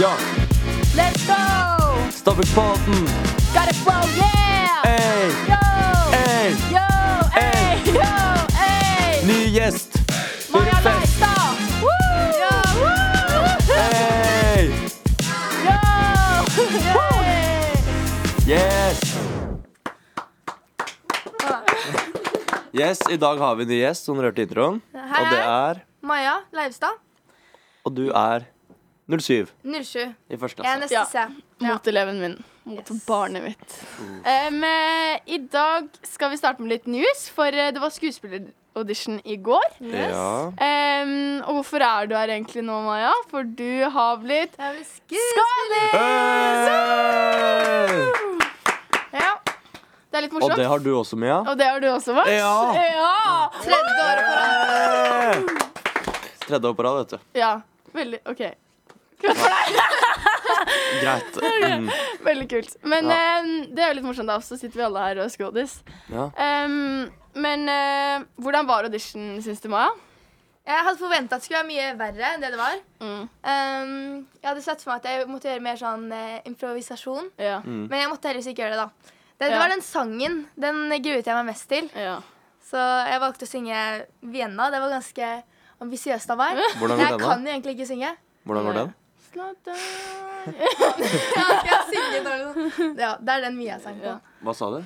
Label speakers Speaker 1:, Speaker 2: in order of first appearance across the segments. Speaker 1: Ja,
Speaker 2: Let's go!
Speaker 1: Stabburspotten.
Speaker 2: Got it flow, yeah!
Speaker 1: Ey,
Speaker 2: Yo!
Speaker 1: ey.
Speaker 2: Yo! Ey! Yo! Ey!
Speaker 1: Ny gjest.
Speaker 2: Maja
Speaker 1: Blir det fest?
Speaker 2: Leistad! Woo! Ja, woo!
Speaker 1: Ey.
Speaker 2: Yo!
Speaker 1: Yes. Yes, i dag har vi en ny gjest, som dere hørte i introen.
Speaker 2: Hei,
Speaker 1: Og det
Speaker 2: hei.
Speaker 1: er
Speaker 3: Maja Leivstad.
Speaker 1: Og du er 07
Speaker 3: 07.
Speaker 1: i første
Speaker 3: Jeg
Speaker 1: klasse.
Speaker 3: er neste
Speaker 2: Ja.
Speaker 3: C. Ja.
Speaker 2: Mot eleven min. Mot
Speaker 3: Yes.
Speaker 2: barnet mitt. Em, eh, I dag skal vi starte med litt news, for eh, det var skuespilleraudition i går.
Speaker 1: Ja.
Speaker 2: Em, og hvorfor er du her egentlig nå, Maja? For du har blitt
Speaker 3: Jeg blir
Speaker 2: Skåler!
Speaker 1: Hey!
Speaker 2: Ja. Det er litt
Speaker 1: Og
Speaker 2: morsomt.
Speaker 1: det har du også, Mia.
Speaker 2: Og det har du også, Max?
Speaker 1: Ja.
Speaker 2: Ja,
Speaker 3: Tredje året på rad.
Speaker 1: Hey! Tredje år på rad, vet du.
Speaker 2: ja. Veldig, ok.
Speaker 1: Greit. Mm.
Speaker 2: Veldig kult. Men
Speaker 1: Ja.
Speaker 2: em, det er jo litt morsomt, da. Så sitter vi alle her og er skådis.
Speaker 1: Ja.
Speaker 2: Em, men eh, hvordan var audition, syns du, Maja?
Speaker 3: Jeg hadde forventa at det skulle være mye verre enn det det var. Um, jeg hadde sett for meg at jeg måtte gjøre mer sånn eh, improvisasjon.
Speaker 2: Ja.
Speaker 3: Men jeg måtte heldigvis ikke gjøre det, da. Det, det
Speaker 2: Ja.
Speaker 3: var den sangen. Den gruet jeg meg mest til.
Speaker 2: ja.
Speaker 3: Så jeg valgte å synge Vienna. Det var ganske ambisiøst av meg.
Speaker 1: Hvordan går
Speaker 3: Men jeg
Speaker 1: den, da?
Speaker 3: kan jo egentlig ikke synge.
Speaker 1: Hvordan går den?
Speaker 2: Snart er-
Speaker 3: Jeg skal synge dårlig sånn. Ja, Det er den Mia sang på.
Speaker 2: Ja.
Speaker 1: Hva sa du?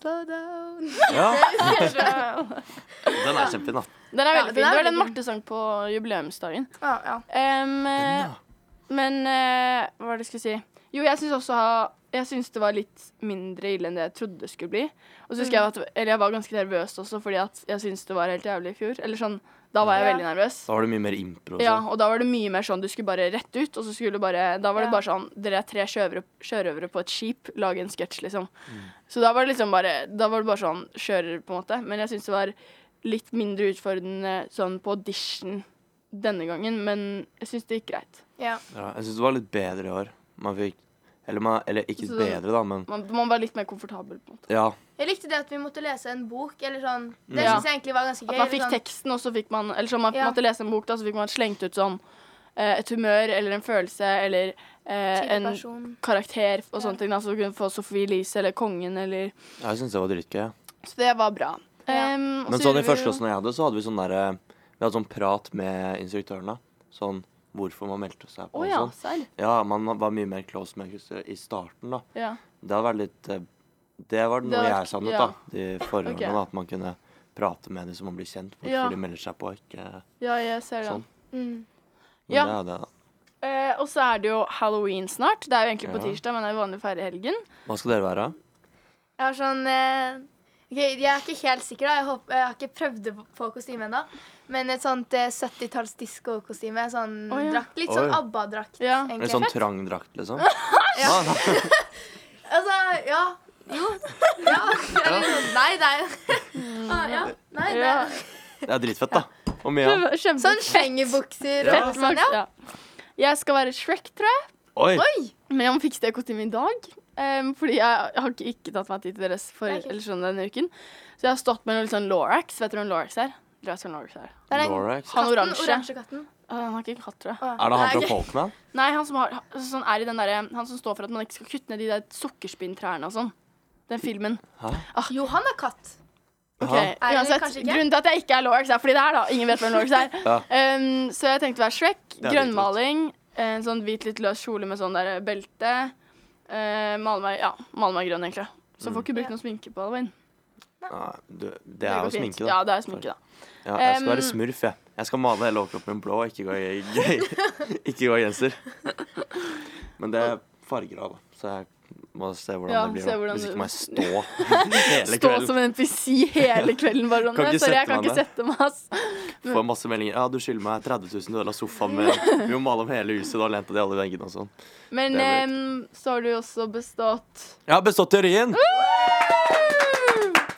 Speaker 3: Slow down.
Speaker 1: Ja,
Speaker 2: Den
Speaker 1: Den er kjempefin, da.
Speaker 2: er
Speaker 3: Ja,
Speaker 2: veldig
Speaker 3: den
Speaker 2: fin.
Speaker 3: er
Speaker 2: Det var
Speaker 3: veldig
Speaker 2: den
Speaker 3: fin.
Speaker 2: Marte sang på jubileumsdagen.
Speaker 3: Ja, Ah, ja.
Speaker 2: Em, eh, men eh, hva var det jeg skulle si? Jo, jeg syns også ha- jeg syns det var litt mindre ille enn det jeg trodde det skulle bli. Og så husker
Speaker 3: Mm.
Speaker 2: jeg at Eller jeg var ganske nervøs også, fordi at jeg syns det var helt jævlig i fjor. Eller sånn, da var jeg
Speaker 3: Ja.
Speaker 2: veldig nervøs.
Speaker 1: Da var det mye mer impro. og
Speaker 2: Ja,
Speaker 1: sånn.
Speaker 2: og da var det mye mer sånn du skulle bare rett ut, og så skulle du bare Da var det
Speaker 3: Ja.
Speaker 2: bare sånn Dere er tre sjørøvere, sjørøvere på et skip, lag en sketsj, liksom.
Speaker 1: Mm.
Speaker 2: Så da var det liksom bare Da var det bare sånn kjører, på en måte. Men jeg syns det var litt mindre utfordrende sånn på audition denne gangen, men jeg syns det gikk greit.
Speaker 3: ja.
Speaker 1: Ja, jeg syns det var litt bedre i år. Man fikk Eller, man, eller ikke
Speaker 2: Så-
Speaker 1: bedre, da, men
Speaker 2: Man, man var litt mer komfortabel, på en måte.
Speaker 1: Ja.
Speaker 3: Jeg likte det at vi måtte lese en bok. eller sånn. Det
Speaker 2: Ja.
Speaker 3: synes jeg egentlig var ganske
Speaker 2: At
Speaker 3: gøy.
Speaker 2: man
Speaker 3: eller
Speaker 2: fikk
Speaker 3: sånn.
Speaker 2: teksten, og så fikk man Eller sånn, man
Speaker 3: Ja.
Speaker 2: måtte lese en bok, da, så fikk man slengt ut sånn eh, et humør eller en følelse eller eh,
Speaker 3: Type
Speaker 2: en
Speaker 3: person.
Speaker 2: karakter og sånne
Speaker 3: Ja.
Speaker 2: ting. Da, så du kunne få Sophie Elise eller Kongen eller
Speaker 1: Jeg syns det var dritgøy. jeg.
Speaker 2: Så det var bra.
Speaker 3: Ja.
Speaker 2: Ehm, og
Speaker 1: Men
Speaker 2: så
Speaker 1: sånn i
Speaker 2: gjorde vi
Speaker 1: første
Speaker 2: jo-
Speaker 1: klasse når jeg hadde, så hadde vi sånn derre Vi hadde sånn prat med instruktørene. Sånn hvorfor man meldte seg på
Speaker 2: Å
Speaker 1: og
Speaker 2: ja,
Speaker 1: sånn.
Speaker 2: serr.
Speaker 1: Ja, man var mye mer close med kursene i starten, da.
Speaker 2: Ja.
Speaker 1: Det har vært litt eh, Det var
Speaker 2: Det
Speaker 1: noe
Speaker 2: har vært-
Speaker 1: jeg savnet,
Speaker 2: ja.
Speaker 1: da. De forhåndene,
Speaker 2: Ok.
Speaker 1: da, at man kunne prate med de som man blir kjent med, hvorfor
Speaker 2: Ja.
Speaker 1: de melder seg på, og ikke
Speaker 2: ja, jeg ser det.
Speaker 1: sånn. Men
Speaker 3: Mm.
Speaker 2: Ja.
Speaker 1: det er jo det, da.
Speaker 2: Eh, og så er det jo halloween snart. Det er jo egentlig på
Speaker 1: Ja.
Speaker 2: tirsdag, men det er jo vanlig å feire i helgen.
Speaker 1: Hva skal dere være?
Speaker 3: Jeg har sånn eh, ok, Jeg er ikke helt sikker, da. Jeg, håper, jeg har ikke prøvd det på kostyme ennå. Men et sånt eh, 70-talls diskokostyme. Sånn
Speaker 2: Å, ja.
Speaker 3: drakt. Litt sånn
Speaker 1: Oi.
Speaker 3: ABBA-drakt,
Speaker 2: Ja.
Speaker 1: En
Speaker 3: egentlig.
Speaker 1: sånn trang drakt, liksom? ja. Ah,
Speaker 3: Altså, ja. Jo. Ja. Eller sånn, Nei, det er ah, ja. Nei, det
Speaker 2: Ja.
Speaker 3: er
Speaker 1: Det er dritfett, da. Og Mia.
Speaker 2: Kjempe-
Speaker 3: Sånn slengerbukser
Speaker 1: Ja.
Speaker 3: og sånn, ja.
Speaker 2: Ja. Jeg skal være Shrek, tror jeg.
Speaker 1: Oi!
Speaker 3: Oi!
Speaker 2: Men jeg må fikse det kostymet i dag. ehm, fordi jeg, jeg har ikke, ikke tatt meg tid til deres for,
Speaker 3: Det er kult.
Speaker 2: eller sånn denne uken. Så jeg har stått med noe litt sånn Lorax. Vet dere hvem Lorax er? Dere vet hvem Lorax er?
Speaker 3: Det er den
Speaker 1: Lorax.
Speaker 2: Han
Speaker 3: katten,
Speaker 2: oransje.
Speaker 3: oransje katten.
Speaker 2: Ah, Han har ikke en katt, tror jeg.
Speaker 3: Å, ja.
Speaker 1: Er det han
Speaker 3: Nei,
Speaker 1: fra
Speaker 3: ok.
Speaker 1: Folkman?
Speaker 2: Nei, han som, har, sånn er i den derre- han som står for at man ikke skal kutte ned de der sukkerspinntrærne og sånn. Den filmen.
Speaker 3: Jo, han er katt.
Speaker 2: Ok,
Speaker 1: Ja.
Speaker 3: Nei,
Speaker 2: uansett,
Speaker 3: kanskje ikke.
Speaker 2: Grunnen til at jeg ikke er Lorax, er fordi det er da. Ingen vet hvem Lorax er.
Speaker 1: Ja.
Speaker 2: Um, så jeg tenkte å være Shrek.
Speaker 1: er
Speaker 2: Grønnmaling. En sånn hvit, litt løs kjole med sånn der belte. Uh, male meg, ja, male meg grønn, egentlig. Så
Speaker 1: Mm.
Speaker 2: får ikke brukt
Speaker 3: Ja.
Speaker 2: noe sminke på halloween.
Speaker 1: Nei, Ah, du, det er jo
Speaker 2: går fint.
Speaker 1: sminke, da.
Speaker 2: Ja, det er sminke, da.
Speaker 1: Ja, jeg skal være
Speaker 2: Um,
Speaker 1: smurf, jeg. Jeg skal male hele overkroppen min blå og ikke gå i, ikke gå i genser. Men det er farger av, da. Så jeg må se hvordan
Speaker 2: Ja,
Speaker 1: det blir.
Speaker 2: se
Speaker 1: da.
Speaker 2: hvordan
Speaker 1: Hvis
Speaker 2: du-
Speaker 1: ikke må jeg stå hele
Speaker 2: Stå
Speaker 1: kvelden.
Speaker 2: som en NPC hele kvelden. Bare sånn,
Speaker 1: Kan ikke
Speaker 2: «Nei, sorry,
Speaker 1: sette
Speaker 2: jeg kan
Speaker 1: meg
Speaker 2: ikke
Speaker 1: ned.»
Speaker 2: sette meg, ass.
Speaker 1: Får masse meldinger. Ja, du skylder meg 30 000, du ødela sofaen min. Vi må male om hele huset. Da lente de alle veggene og sånn.
Speaker 2: Men
Speaker 1: Det er
Speaker 2: em, så har du også bestått
Speaker 1: Jeg har bestått teorien!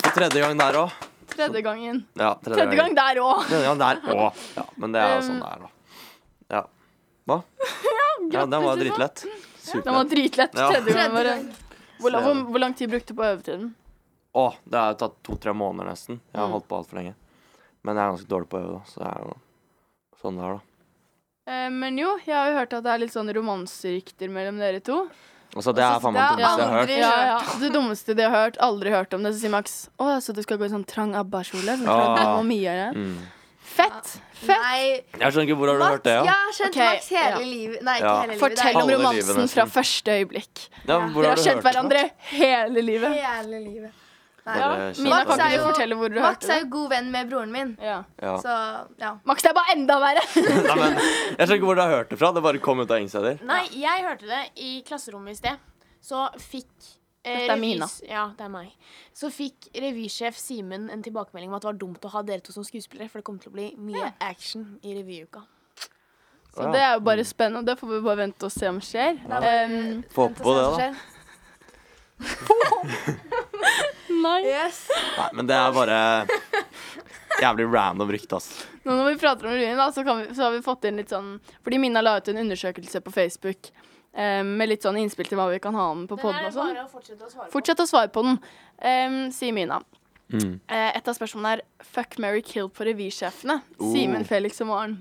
Speaker 1: For tredje gang der òg.
Speaker 2: tredje gangen.
Speaker 1: Ja, tredje,
Speaker 2: Tredje gang der òg.
Speaker 1: Tredje gang der òg. Ja, men det er jo
Speaker 2: Um,
Speaker 1: sånn det er, da. Ja. Hva? Ja, den var
Speaker 2: Susanne.
Speaker 1: dritlett.
Speaker 2: Den var
Speaker 1: Superlett.
Speaker 2: dritlett.
Speaker 1: Ja.
Speaker 2: Tredje gangen var
Speaker 3: Tredje
Speaker 2: det.
Speaker 3: gang.
Speaker 2: Hvor, lang- hvor, hvor lang tid brukte du på øvetiden?
Speaker 1: Å, det har tatt to-tre måneder nesten. Jeg har
Speaker 2: Mm.
Speaker 1: holdt på altfor lenge. Men jeg er ganske dårlig på å øve, da, så det er jo sånn det er, da.
Speaker 2: Eh, men jo, jeg har jo hørt at det er litt sånn romanserykter mellom dere to.
Speaker 1: Altså, det er faen meg det
Speaker 3: Det er
Speaker 1: dummeste jeg har hørt.
Speaker 3: aldri-
Speaker 2: Ja, ja. Det dummeste de har hørt. Aldri hørt om det. Så sier Max å, så du skal gå i sånn trang ABBA-kjole. sånn fra
Speaker 1: Ah.
Speaker 2: Dama og Mia, ja.
Speaker 1: Mm.
Speaker 2: Fett! Fett!
Speaker 3: Nei,
Speaker 1: Jeg skjønner ikke hvor har du hørt det,
Speaker 3: Jeg
Speaker 1: ja?
Speaker 3: har kjent
Speaker 2: Ok,
Speaker 3: Max hele
Speaker 2: ja.
Speaker 3: livet. Nei, ikke
Speaker 1: Ja.
Speaker 3: hele livet.
Speaker 2: Fortell om
Speaker 1: Alle livet,
Speaker 2: romansen fra
Speaker 1: nesten.
Speaker 2: første øyeblikk.
Speaker 1: ja men hvor
Speaker 2: Dere
Speaker 1: har
Speaker 2: har
Speaker 1: du
Speaker 2: kjent
Speaker 1: hørt det fra?
Speaker 2: hverandre hele
Speaker 3: det
Speaker 2: livet.
Speaker 3: er hele livet. Nei.
Speaker 1: Bare kjent
Speaker 2: Mina,
Speaker 1: hverandre.
Speaker 2: kan ikke
Speaker 3: er
Speaker 2: du
Speaker 3: jo-
Speaker 2: fortelle hvor du
Speaker 3: Max
Speaker 2: hørte
Speaker 3: er
Speaker 2: det?
Speaker 3: jo god venn med broren min,
Speaker 2: Ja.
Speaker 1: Ja.
Speaker 3: så ja.
Speaker 2: Max, det er bare enda verre!
Speaker 1: Nei, men, jeg skjønner ikke hvor du har hørt det fra. Det bare kom ut av ingen steder.
Speaker 4: Nei, jeg hørte det i klasserommet i sted. Så fikk eh,
Speaker 2: Dette er Mina.
Speaker 4: revys- Ja, det er meg. Så fikk revysjef Simen en tilbakemelding om at det var dumt å ha dere to som skuespillere, for det kom til å bli mye action i revyuka.
Speaker 2: Så det er jo bare spennende. Det får vi bare vente og se om skjer. Um,
Speaker 1: Få håpe på det, da.
Speaker 2: nei.
Speaker 3: Yes.
Speaker 1: Nei, men det er bare jævlig random rykte, ass.
Speaker 2: Nå når vi prater om revyen, da, så, kan vi, så har vi fått inn litt sånn Fordi Mina la ut en undersøkelse på Facebook eh, med litt sånn innspill til hva vi kan ha med på poden og sånn.
Speaker 4: å fortsette å svare
Speaker 2: Fortsett å svare på den, eh, sier Mina.
Speaker 1: Mm.
Speaker 2: Eh, et av spørsmålene er fuck, marry, kill på revysjefene.
Speaker 1: Oh.
Speaker 2: Simen, Felix og Maren.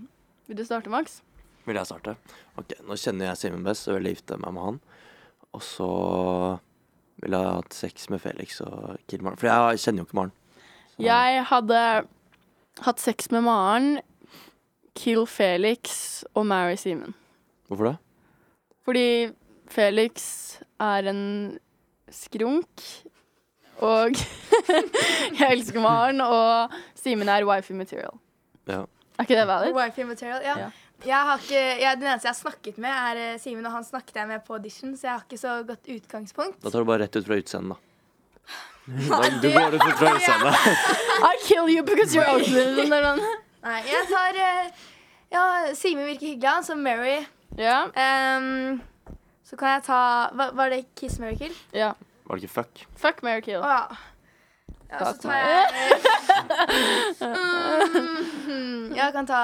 Speaker 2: Vil du starte, Max?
Speaker 1: Vil jeg starte? Ok, Nå kjenner jeg Simen best, så jeg vil gifte meg med han. Og så vil jeg ha hatt sex med Felix og Kill Maren. For jeg kjenner jo ikke Maren. Så-
Speaker 2: Jeg hadde hatt sex med Maren, kill Felix og marry Simen.
Speaker 1: Hvorfor det?
Speaker 2: Fordi Felix er en skrunk, og jeg elsker Maren, og Simen er wifey material.
Speaker 1: Ja.
Speaker 2: Er ikke det valid?
Speaker 3: Wifey material, ja.
Speaker 2: Ja.
Speaker 3: Jeg har ikke, jeg, den eneste jeg har snakket med, er eh, Simen, og han snakket jeg med på audition, så jeg har ikke så godt utgangspunkt.
Speaker 1: Da tar du bare rett ut fra utseendet, da. Da- Du går rett ut fra utseendet.
Speaker 2: I kill you because you're ugly. sånn der, sånn.
Speaker 3: Nei, jeg tar eh, Ja, Simen virker hyggelig, han, så Mary.
Speaker 2: Ja,
Speaker 3: Ehm, så kan jeg ta hva, Var det Kiss Mary Kill?
Speaker 2: ja.
Speaker 1: Var det ikke fuck?
Speaker 2: Fuck, marry, kill.
Speaker 3: Å ja. ja. Så
Speaker 2: Takk,
Speaker 3: tar jeg mm, Jeg kan ta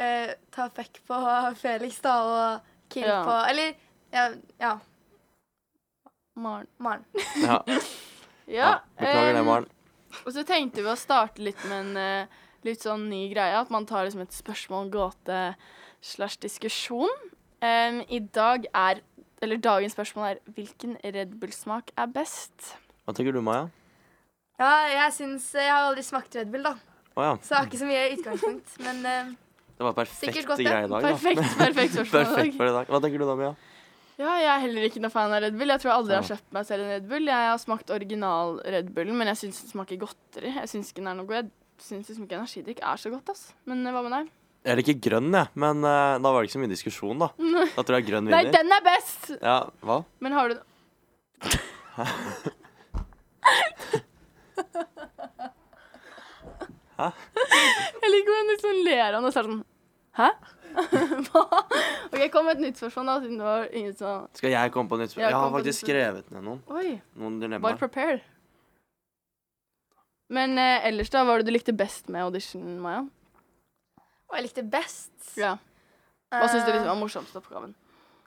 Speaker 3: eh, Ta fuck på Felix, da, og kill
Speaker 2: Ja.
Speaker 3: på Eller ja, ja
Speaker 2: Maren.
Speaker 3: Maren.
Speaker 1: Ja. ja.
Speaker 2: Ja, um,
Speaker 1: Beklager det,
Speaker 2: em,
Speaker 1: Maren.
Speaker 2: Og så tenkte vi å starte litt med en eh, litt sånn ny greie. At man tar liksom et spørsmål, gåte slash diskusjon. Em, I dag er Eller dagens spørsmål er hvilken Red Bull-smak er best?
Speaker 1: Hva tenker du, Maja?
Speaker 3: Ja, jeg syns Jeg har aldri smakt Red Bull, da.
Speaker 1: Å ja.
Speaker 3: Så jeg har ikke så mye utgangspunkt. Men eh,
Speaker 1: Det var perfekt
Speaker 3: Sikkert godt, ja.
Speaker 1: greie i dag, da.
Speaker 2: Perfekt, perfekt spørsmål. i
Speaker 1: Perfekt
Speaker 2: dag.
Speaker 1: for i dag. Hva tenker du da, Mia?
Speaker 2: Ja, jeg er heller ikke noe fan av Red Bull. Jeg tror aldri jeg har
Speaker 1: Ja.
Speaker 2: kjøpt meg selv en Red Bull. Jeg har smakt original Red Bullen, men jeg syns den smaker godteri. Jeg syns ikke den er noe god. Jeg syns liksom ikke energidrikk er så godt, ass. Men eh, hva med deg?
Speaker 1: Jeg liker grønn, jeg, men eh, da var det ikke så mye diskusjon, da. Da tror jeg grønn
Speaker 2: Nei,
Speaker 1: vinner.
Speaker 2: den er best!
Speaker 1: Ja, hva?
Speaker 2: Men har du
Speaker 1: Hæ?
Speaker 2: Jeg liker hvordan du liksom ler av det og så er det sånn Hæ? Hva? OK, kom med et nytt spørsmål, da, siden det var ingen som
Speaker 1: Skal jeg komme på nytt?
Speaker 2: Ja,
Speaker 1: Jeg har
Speaker 2: kom på
Speaker 1: faktisk
Speaker 2: nytt.
Speaker 1: skrevet ned noen.
Speaker 2: Oi.
Speaker 1: Noen
Speaker 2: Bare
Speaker 1: dilemmaer.
Speaker 2: prepare. Men eh, ellers, da, hva var det du likte best med audition, Maja?
Speaker 3: hva jeg likte best
Speaker 2: Ja. Hva syns du
Speaker 3: eh,
Speaker 2: liksom var morsomste oppgaven?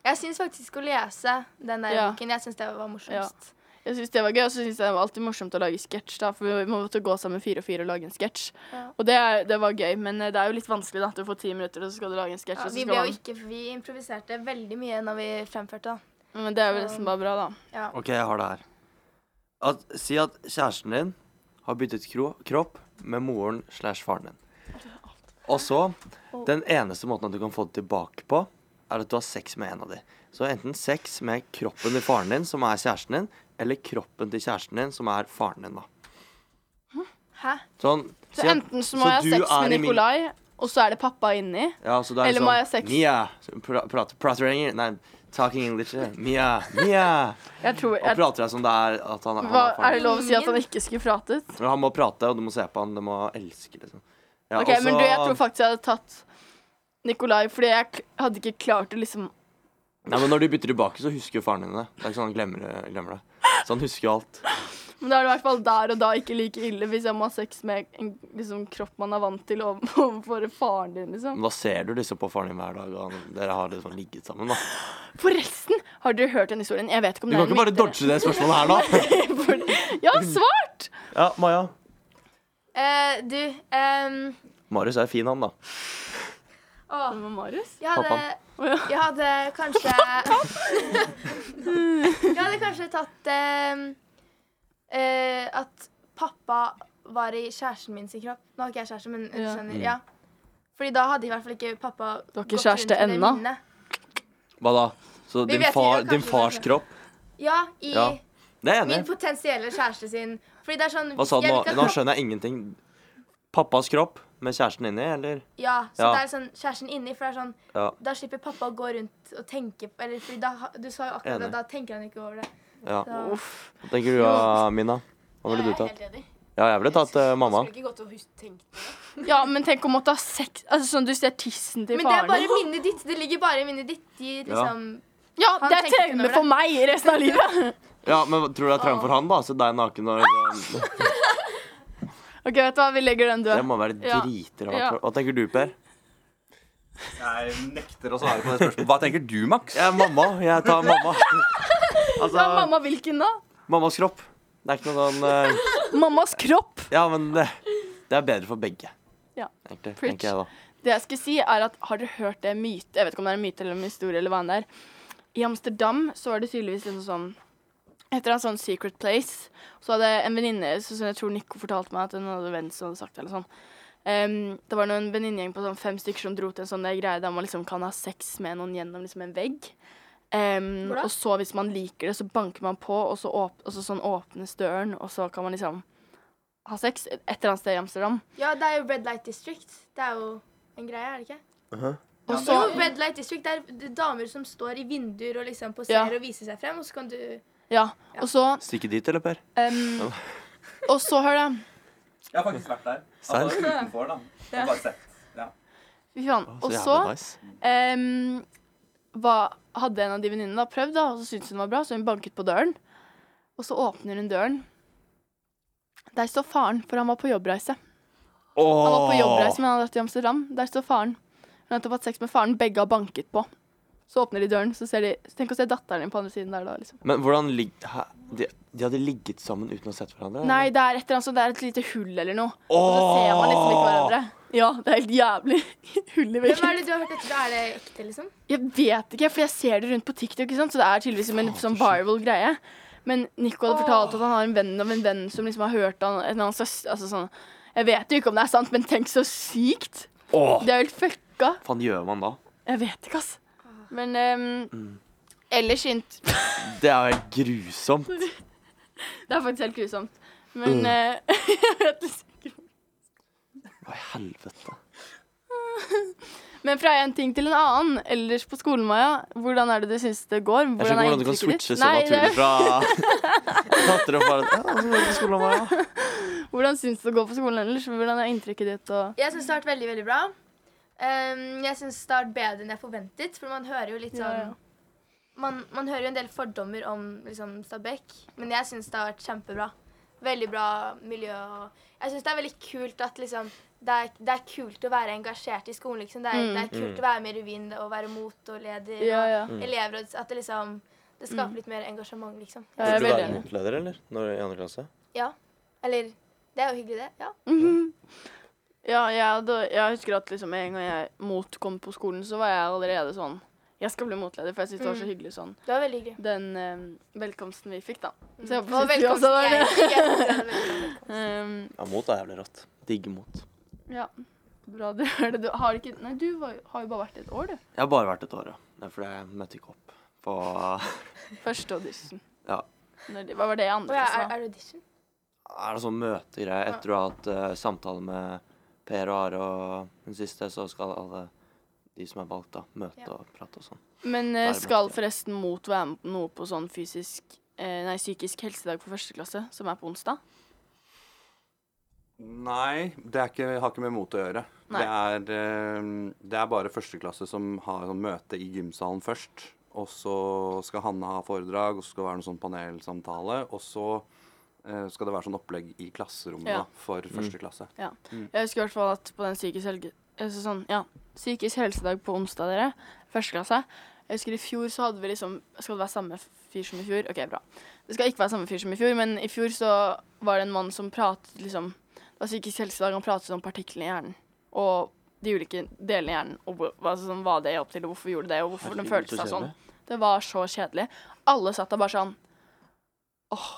Speaker 3: Jeg syns faktisk å lese den der
Speaker 2: Ja.
Speaker 3: boken. Jeg syns det var morsomst.
Speaker 2: Jeg synes det var gøy, og så synes jeg det var alltid morsomt å lage sketsj. da, For vi måtte gå sammen fire og fire og lage en sketsj.
Speaker 3: Ja.
Speaker 2: Og det, er- det var gøy, men eh, det er jo litt vanskelig da, at du får ti minutter, og så skal du lage en sketsj.
Speaker 3: Ja,
Speaker 2: og så
Speaker 3: vi,
Speaker 2: skal
Speaker 3: ble jo
Speaker 2: man-
Speaker 3: ikke, vi improviserte veldig mye når vi fremførte. da.
Speaker 2: Men det er jo nesten bare bra, da.
Speaker 3: Ja.
Speaker 1: OK, jeg har det her. At, si at kjæresten din har byttet kro kropp med moren slash faren din. Og så Den eneste måten at du kan få det tilbake på, er at du har sex med en av de. Så enten sex med kroppen til faren din, som er kjæresten din, eller kroppen til kjæresten din, som er faren din, da.
Speaker 3: Hæ?
Speaker 1: Sånn
Speaker 2: Så
Speaker 1: si at-
Speaker 2: enten så må
Speaker 1: så
Speaker 2: jeg
Speaker 1: du
Speaker 2: ha sex
Speaker 1: er
Speaker 2: med
Speaker 1: i min-
Speaker 2: Nikolai, og så er det pappa inni.
Speaker 1: Ja, så da er det
Speaker 2: Eller må
Speaker 1: sånn,
Speaker 2: jeg ha sex?
Speaker 1: Mia, så pra, prat, prater engelsk Nei, talking English eh, Mia, Mia
Speaker 2: Jeg tror,
Speaker 1: Og
Speaker 2: jeg,
Speaker 1: prater jeg som det er at han, han, er
Speaker 2: hva, er
Speaker 1: faren.
Speaker 2: det lov å si at han ikke skulle pratet?
Speaker 1: Men han må prate, og du må se på han Du må elske, liksom ja, altså-
Speaker 2: Ok,
Speaker 1: og så-
Speaker 2: men du, jeg tror faktisk jeg hadde tatt Nikolai, fordi jeg k- hadde ikke klart å liksom
Speaker 1: Nei, men når du bytter tilbake, så husker jo faren din det Det er ikke sånn han glemmer, glemmer det Så han husker jo alt
Speaker 2: Men da er det i hvert fall der og da ikke like ille hvis jeg må ha sex med en liksom, kropp man er vant til over- overfor faren din, liksom.
Speaker 1: Men da ser du liksom på faren din hver dag Og han, dere har liksom ligget sammen da
Speaker 2: Forresten, har dere hørt den historien? Jeg vet ikke om
Speaker 1: Du
Speaker 2: det
Speaker 1: kan
Speaker 2: er
Speaker 1: ikke bare dodge det spørsmålet her nå
Speaker 2: dodge Jeg har svart!
Speaker 1: Ja, Maja
Speaker 3: Eh, du, ehm,
Speaker 1: Marius er fin han da
Speaker 3: Åh,
Speaker 2: Hvem var Marius?
Speaker 3: jeg hadde,
Speaker 1: Pappaen.
Speaker 2: Å ja.
Speaker 3: jeg hadde kanskje Jeg hadde kanskje tatt eh, eh, at pappa var i kjæresten min sin kropp. Nå har ikke jeg kjæreste, men du
Speaker 2: Ja.
Speaker 1: Mm.
Speaker 3: skjønner. Ja. Fordi da hadde i hvert fall ikke pappa
Speaker 2: Du har ikke kjæreste ennå?
Speaker 3: minnet.
Speaker 1: Hva da? Så
Speaker 3: Vi
Speaker 1: din,
Speaker 3: vet ikke,
Speaker 1: far,
Speaker 3: kanskje
Speaker 1: din fars
Speaker 3: det.
Speaker 1: kropp?
Speaker 3: Ja, i
Speaker 1: Ja. Det er jeg enig
Speaker 3: min
Speaker 1: i.
Speaker 3: potensielle kjæreste sin. Fordi det er sånn
Speaker 1: Hva sa du
Speaker 3: jeg
Speaker 1: nå?
Speaker 3: vil ikke at
Speaker 1: Nå
Speaker 3: pappa-
Speaker 1: skjønner jeg ingenting. Pappas kropp med kjæresten inni, eller?
Speaker 3: Ja, så
Speaker 1: Ja.
Speaker 3: det er sånn kjæresten inni, for det er sånn
Speaker 1: Ja.
Speaker 3: Da slipper pappa å gå rundt og tenke på Eller fordi da, ha- du sa jo akkurat
Speaker 1: Enig.
Speaker 3: det, da tenker han ikke over det.
Speaker 1: ja.
Speaker 3: Da,
Speaker 2: Uff.
Speaker 1: Hva tenker du da, Mina? Hva ville du tatt? Ja, jeg ville tatt eh, mamma.
Speaker 4: Skulle ikke gått og hus- tenkt
Speaker 2: Ja, men tenk å måtte ha sex Altså sånn du ser tissen til
Speaker 3: men det er
Speaker 2: faren
Speaker 3: bare
Speaker 2: din.
Speaker 3: minnet ditt. Det ligger bare i minnet ditt. De liksom
Speaker 2: Ja,
Speaker 3: han
Speaker 2: det er
Speaker 3: tenker ikke
Speaker 2: traume
Speaker 3: over
Speaker 2: for meg resten av livet.
Speaker 1: Ja, men Tror du det er traume for han, da? Se deg naken og
Speaker 2: OK, vet du hva, vi legger den
Speaker 1: Det
Speaker 2: død.
Speaker 1: må være
Speaker 2: Ja. Ja.
Speaker 1: dritrart. Hva tenker du, Per?
Speaker 5: Jeg nekter å svare på det spørsmålet. Hva tenker du, Max?
Speaker 1: Jeg er mamma. Jeg tar mamma.
Speaker 2: Ja,
Speaker 1: Altså
Speaker 2: mamma hvilken da?
Speaker 1: mammas kropp. Det er ikke noe sånn eh,
Speaker 2: Mammas kropp.
Speaker 1: Ja, men det, det er bedre for begge.
Speaker 2: Ja.
Speaker 1: Egentlig,
Speaker 2: Preach.
Speaker 1: tenker jeg da.
Speaker 2: Det jeg skulle si er at Har dere hørt det myte? Jeg vet ikke om det er en myte eller en historie eller hva enn det er. I Amsterdam så var det tydeligvis en sånn Etter en sånn Secret Place så hadde en venninne så- som jeg tror Nico fortalte meg at hun hadde venn som hadde sagt det, eller sånn. Em, det var noen venninnegjeng på sånn fem stykker som dro til en sånn der greie der man liksom kan ha sex med noen gjennom liksom en vegg. Em,
Speaker 3: Hvor da?
Speaker 2: og så hvis man liker det, så banker man på, og så, åp og så sånn åpnes døren, og så kan man liksom ha sex et et eller annet sted i Amsterdam.
Speaker 3: Ja, det er jo Red Light District. Det er jo en greie, er det ikke?
Speaker 2: Og
Speaker 3: Jo,
Speaker 2: så,
Speaker 3: Red Light District det er d- damer som står i vinduer og liksom poserer
Speaker 2: Ja.
Speaker 3: og viser seg frem, og så kan du
Speaker 2: ja, og så
Speaker 1: Stikke dit, eller, Per?
Speaker 2: Um, og så, hør da.
Speaker 5: Jeg har faktisk vært der.
Speaker 1: Serr?
Speaker 5: Altså utenfor, da. Jeg har bare sett.
Speaker 2: Fy faen.
Speaker 1: Å,
Speaker 2: Og
Speaker 1: jævla
Speaker 2: så
Speaker 1: nice.
Speaker 2: um, hva- hadde en av de venninnene da prøvd, da, og så syntes hun det var bra, så hun banket på døren. Og så åpner hun døren. Der står faren, for han var på jobbreise. Han var på jobbreise, men han hadde dratt til Amsterdam. Der står faren. Hun har nettopp hatt sex med faren, begge har banket på. Så åpner de døren, så ser de Tenk å se datteren din på andre siden der, da. liksom.
Speaker 1: Men hvordan lig... Hæ? De, de hadde ligget sammen uten å ha sett hverandre? eller?
Speaker 2: Nei, det er et eller annet sånt, det er et lite hull eller noe. Og så ser man liksom ikke hverandre. Ja, det er helt jævlig hull i veggen.
Speaker 3: Hvem er det du har hørt dette? Er det ekte, liksom?
Speaker 2: Jeg vet ikke, for jeg ser det rundt på TikTok, ikke sant? så det er tydeligvis som en sånn viral greie. Men Nico hadde fortalt at han har en venn av en venn som liksom har hørt han, en annen søster altså sånn, Jeg vet jo ikke om det er sant, men tenk så sykt!
Speaker 1: Åh,
Speaker 2: Det er jo helt fucka.
Speaker 1: faen gjør man da?
Speaker 2: Jeg vet ikke, ass. Men ehm,
Speaker 1: Mm.
Speaker 2: ellers int
Speaker 1: Det er jo helt grusomt.
Speaker 2: Det er faktisk helt grusomt. Men
Speaker 1: Mm.
Speaker 2: eh, jeg vet liksom
Speaker 1: Hva i helvete?
Speaker 2: Men fra en ting til en annen, ellers på skolen, Maja, hvordan er det du syns det går?
Speaker 1: Jeg skjønner ikke hvordan du kan switche så naturlig fra Datter og far ja, så går jeg på skolen om morgenen, ja.
Speaker 2: Hvordan syns du det går på skolen ellers? Hvordan er inntrykket ditt? Og...
Speaker 3: Jeg syns det har vært veldig, veldig bra. Ehm, jeg syns det har vært bedre enn jeg forventet, for man hører jo litt sånn
Speaker 2: Ja, ja.
Speaker 3: Man, man hører jo en del fordommer om liksom, Stabekk, men jeg syns det har vært kjempebra. Veldig bra miljø. og Jeg syns det er veldig kult at liksom det er, det er kult å være engasjert i skolen. liksom. Det er,
Speaker 2: Mm.
Speaker 3: det er kult å være med i revyen og være mot og leder.
Speaker 2: Ja, Mm. ja.
Speaker 3: Og elever, og at det liksom Det skaper litt mer engasjement, liksom.
Speaker 2: Ja,
Speaker 1: Burde
Speaker 2: jeg
Speaker 1: du
Speaker 2: er Eh, veldig
Speaker 1: være
Speaker 2: enig.
Speaker 1: motleder, eller? Når, I andre klasse?
Speaker 3: Ja. Eller Det er jo hyggelig, det. Ja.
Speaker 2: Mhm. Ja, jeg, hadde- jeg husker at liksom en gang jeg mot kom på skolen, så var jeg allerede sånn Jeg skal bli motleder, for jeg syns det var så hyggelig sånn
Speaker 3: Det var veldig hyggelig. Mm.
Speaker 2: Den eh, velkomsten vi fikk, da. Så jeg
Speaker 3: Og
Speaker 2: håper synes du også
Speaker 3: velkomst.
Speaker 2: var
Speaker 3: Jeg,
Speaker 2: det.
Speaker 3: jeg, velkomst.
Speaker 2: Um,
Speaker 1: Ja, mot er jævlig rått. Digge mot.
Speaker 2: ja. Bra du gjør det. Du har ikke Nei, du var, har jo bare vært et år, du.
Speaker 1: Jeg har bare vært et år, ja. Det er fordi jeg møtte ikke opp på
Speaker 2: Første audition.
Speaker 1: Ja.
Speaker 2: Når de- Hva var det i andre
Speaker 3: Å ja,
Speaker 2: klasse?
Speaker 3: er,
Speaker 2: da?
Speaker 3: er det audition?
Speaker 1: er det sånn møtegreie. Etter å ha hatt eh, samtale med Per og Are og den siste, så skal alle de som er valgt, da, møte
Speaker 3: Ja.
Speaker 1: og prate og sånn.
Speaker 2: Men
Speaker 1: er
Speaker 2: eh,
Speaker 1: det
Speaker 2: skal
Speaker 1: møte.
Speaker 2: forresten Mot være med på noe på sånn fysisk eh, Nei, psykisk helsedag på første klasse, som er på onsdag?
Speaker 5: Nei, det er ikke, har ikke med mot å gjøre. Det
Speaker 2: Nei.
Speaker 5: er, eh, det er bare førsteklasse som har sånn møte i gymsalen først. Og så skal Hanne ha foredrag, og så skal det være noen sånn panelsamtale. Og så eh, skal det være sånn opplegg i klasserommet
Speaker 2: Ja.
Speaker 5: da, for første klasse.
Speaker 2: Ja. Jeg husker i hvert fall at på den psykisk, helge, altså sånn, ja, psykisk helsedag på onsdag, dere, første klasse Jeg husker i fjor så hadde vi liksom Skal det være samme fyr som i fjor? OK, bra. Det skal ikke være samme fyr som i fjor, men i fjor så var det en mann som pratet liksom Det var psykisk helsedag, han pratet om partiklene i hjernen. Og de ulike delene i hjernen, og hvor- hva, sånn, hva det hjalp til, og hvorfor vi gjorde det, og hvorfor den følte seg sånn. Det var så kjedelig. Alle satt der bare sånn Åh,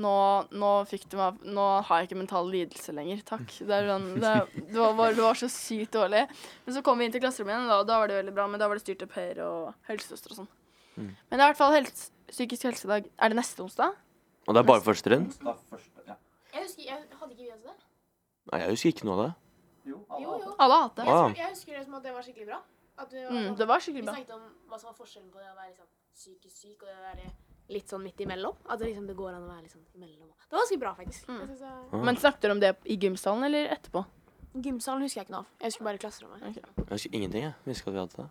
Speaker 2: nå, nå fikk du meg Nå har jeg ikke mental lidelse lenger, takk. Det, er sånn, det, det, var, bare- det var så sykt dårlig. Men så kom vi inn til klasserommet igjen, og da, da var det veldig bra, men da var det styrt opp høyre og helsesøster og sånn. Men det er i hvert fall helse, psykisk helsedag. Er det neste onsdag?
Speaker 1: Og det er bare første trinn?
Speaker 6: Jeg husker, jeg hadde ikke vi også det?
Speaker 1: Nei, jeg husker ikke noe av det.
Speaker 6: Jo, jo.
Speaker 2: Alle har hatt
Speaker 1: Å,
Speaker 2: det.
Speaker 1: ja.
Speaker 6: Jeg, jeg husker det som at det var skikkelig bra. At vi, var,
Speaker 2: Mm, det var
Speaker 6: vi
Speaker 2: skikkelig bra.
Speaker 6: snakket om hva som var forskjellen på det å være liksom, psykisk syk og det å være litt sånn midt imellom. At det, liksom, det går an å være litt sånn imellom. Det var ganske bra, faktisk. Jeg synes det
Speaker 1: Ah.
Speaker 2: Men snakket dere om det i gymsalen eller etterpå?
Speaker 4: Gymsalen husker jeg ikke noe av. Jeg husker bare klasserommet.
Speaker 1: Jeg husker ingenting, jeg. Jeg husker at vi hadde det.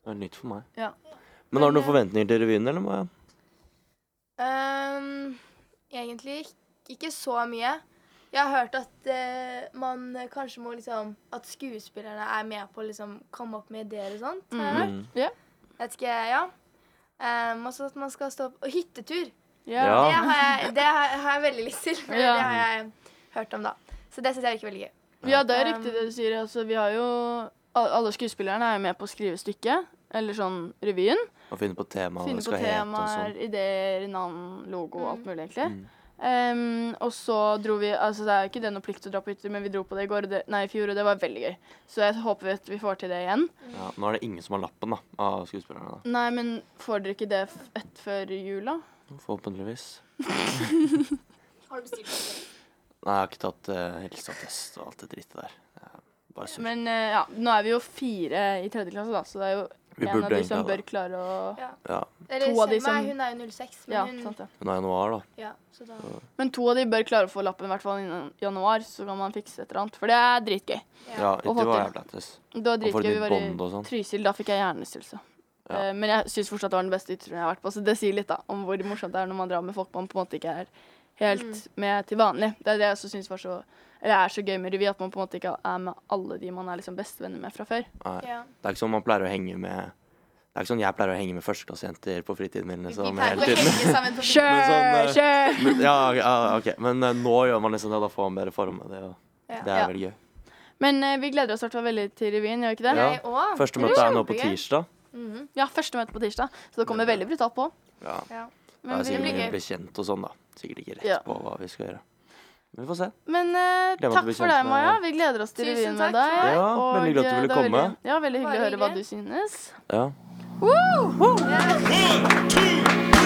Speaker 1: Det var nytt for meg.
Speaker 2: Ja. eh,
Speaker 1: Men har du noen forventninger til revyen, eller? må jeg-
Speaker 3: Ehm, egentlig ikk- ikke så mye. Jeg har hørt at eh, man kanskje må liksom At skuespillerne er med på å liksom komme opp med ideer og sånt. har jeg hørt.
Speaker 1: Mm.
Speaker 3: Vet ikke, ja. Ehm, og så at man skal stå opp Og hyttetur!
Speaker 1: Ja.
Speaker 3: Det, har jeg, det har har jeg veldig lyst til. for
Speaker 2: Ja.
Speaker 3: Det har jeg hørt om, da. Så det syns jeg virker veldig gøy.
Speaker 2: Ja, det er
Speaker 3: Um,
Speaker 2: riktig det du sier. Altså, vi har jo al- Alle skuespillerne er jo med på å skrive stykket. Eller sånn revyen.
Speaker 1: Og finne på tema, hva
Speaker 2: Finne
Speaker 1: det
Speaker 2: på
Speaker 1: skal hete og
Speaker 2: temaer,
Speaker 1: sånn.
Speaker 2: ideer, navn, logo, alt mulig, egentlig.
Speaker 1: Mm.
Speaker 2: Um, og så dro vi Altså, det er jo ikke det noe plikt å dra på hytter, men vi dro på det i går, og det, nei, i fjor, og det var veldig gøy. Så jeg håper at vi får til det igjen.
Speaker 1: sånn? Ja, nå er det ingen som har lappen da, av skuespillerne.
Speaker 2: Nei, men får dere ikke det f- ett før jul, da?
Speaker 1: da. Forhåpentligvis.
Speaker 6: var- Har du bestilt det?
Speaker 1: Nei, jeg har ikke tatt eh, helseattest og alt det drittet der. Det er Bare surr.
Speaker 2: Men eh, ja, nå er vi jo fire i tredje klasse, da, så det er jo
Speaker 1: Vi
Speaker 2: en av
Speaker 1: burde
Speaker 2: de
Speaker 1: egentlig
Speaker 2: som
Speaker 1: ha
Speaker 2: bør
Speaker 1: det.
Speaker 2: klare å
Speaker 1: Ja,
Speaker 3: Eller
Speaker 2: To av de
Speaker 3: Selma,
Speaker 2: som-
Speaker 3: hun er jo 06, men
Speaker 2: Ja,
Speaker 3: hun
Speaker 2: sant det.
Speaker 1: Hun er januar, da.
Speaker 3: Ja, så da
Speaker 2: Men to av de bør klare å få lappen i hvert fall innen januar, så kan man fikse et eller annet. For det er dritgøy.
Speaker 3: Ja.
Speaker 1: Ja,
Speaker 2: Og
Speaker 1: det var
Speaker 2: fått
Speaker 1: jævla lættis.
Speaker 2: Det var
Speaker 1: Og for
Speaker 2: dritgøy.
Speaker 1: et nytt
Speaker 2: Vi var
Speaker 1: bånd og
Speaker 2: i
Speaker 1: sånn.
Speaker 2: Trysil. Da fikk jeg hjernerystelse.
Speaker 1: Ja.
Speaker 2: Eh, Men jeg syns fortsatt det var den beste utturen jeg har vært på, så det sier litt da om hvor morsomt det er når man drar med folk man på en måte ikke er helt
Speaker 1: Mm.
Speaker 2: med til vanlig. Det er det jeg også syns var så Eller er så gøy med revy, at man på en måte ikke er med alle de man er liksom bestevenner med fra før.
Speaker 1: Nei.
Speaker 3: Ja.
Speaker 1: Det er ikke sånn man pleier å henge med Det er ikke sånn jeg pleier å henge med førsteklassejenter på fritiden min.
Speaker 3: Vi
Speaker 1: Liksom,
Speaker 3: pleier
Speaker 1: hele
Speaker 3: å
Speaker 1: tiden.
Speaker 3: henge sammen på
Speaker 2: Kjør!
Speaker 1: Men sånn, eh,
Speaker 2: kjør!
Speaker 1: Men, ja, ja, ok. Men eh, nå gjør man liksom det, og da får man bedre form. og Det, er jo-
Speaker 3: Ja.
Speaker 1: det er
Speaker 2: Ja.
Speaker 1: veldig gym.
Speaker 2: Men eh, vi gleder oss i hvert fall veldig til revyen, gjør vi ikke det?
Speaker 1: Ja.
Speaker 3: Jeg òg.
Speaker 1: Første møte er nå på tirsdag.
Speaker 3: Mhm.
Speaker 2: Ja, første møte på tirsdag, så det kommer veldig brutalt på.
Speaker 1: Ja.
Speaker 3: Ja.
Speaker 1: Det er
Speaker 2: Men,
Speaker 1: sikkert
Speaker 2: vi,
Speaker 1: mye å bli kjent og sånn, da. Sikkert ikke
Speaker 2: Ja.
Speaker 1: rett på hva vi skal gjøre. Men vi får se.
Speaker 2: men
Speaker 1: Gleder
Speaker 2: eh,
Speaker 1: meg til å
Speaker 2: takk
Speaker 1: bli
Speaker 2: for
Speaker 1: kjent
Speaker 2: deg,
Speaker 1: med-
Speaker 2: Maja. Vi gleder oss til
Speaker 3: Tusen
Speaker 2: revyen med
Speaker 3: takk for
Speaker 2: deg.
Speaker 1: meg. Ja, veldig hyggelig at du
Speaker 2: eh,
Speaker 1: ville
Speaker 2: det var
Speaker 1: komme.
Speaker 2: veldig- Ja, veldig hyggelig å
Speaker 3: Bare
Speaker 2: høre hva
Speaker 3: hyggelig.
Speaker 2: du synes.
Speaker 1: Ja.
Speaker 2: Woo!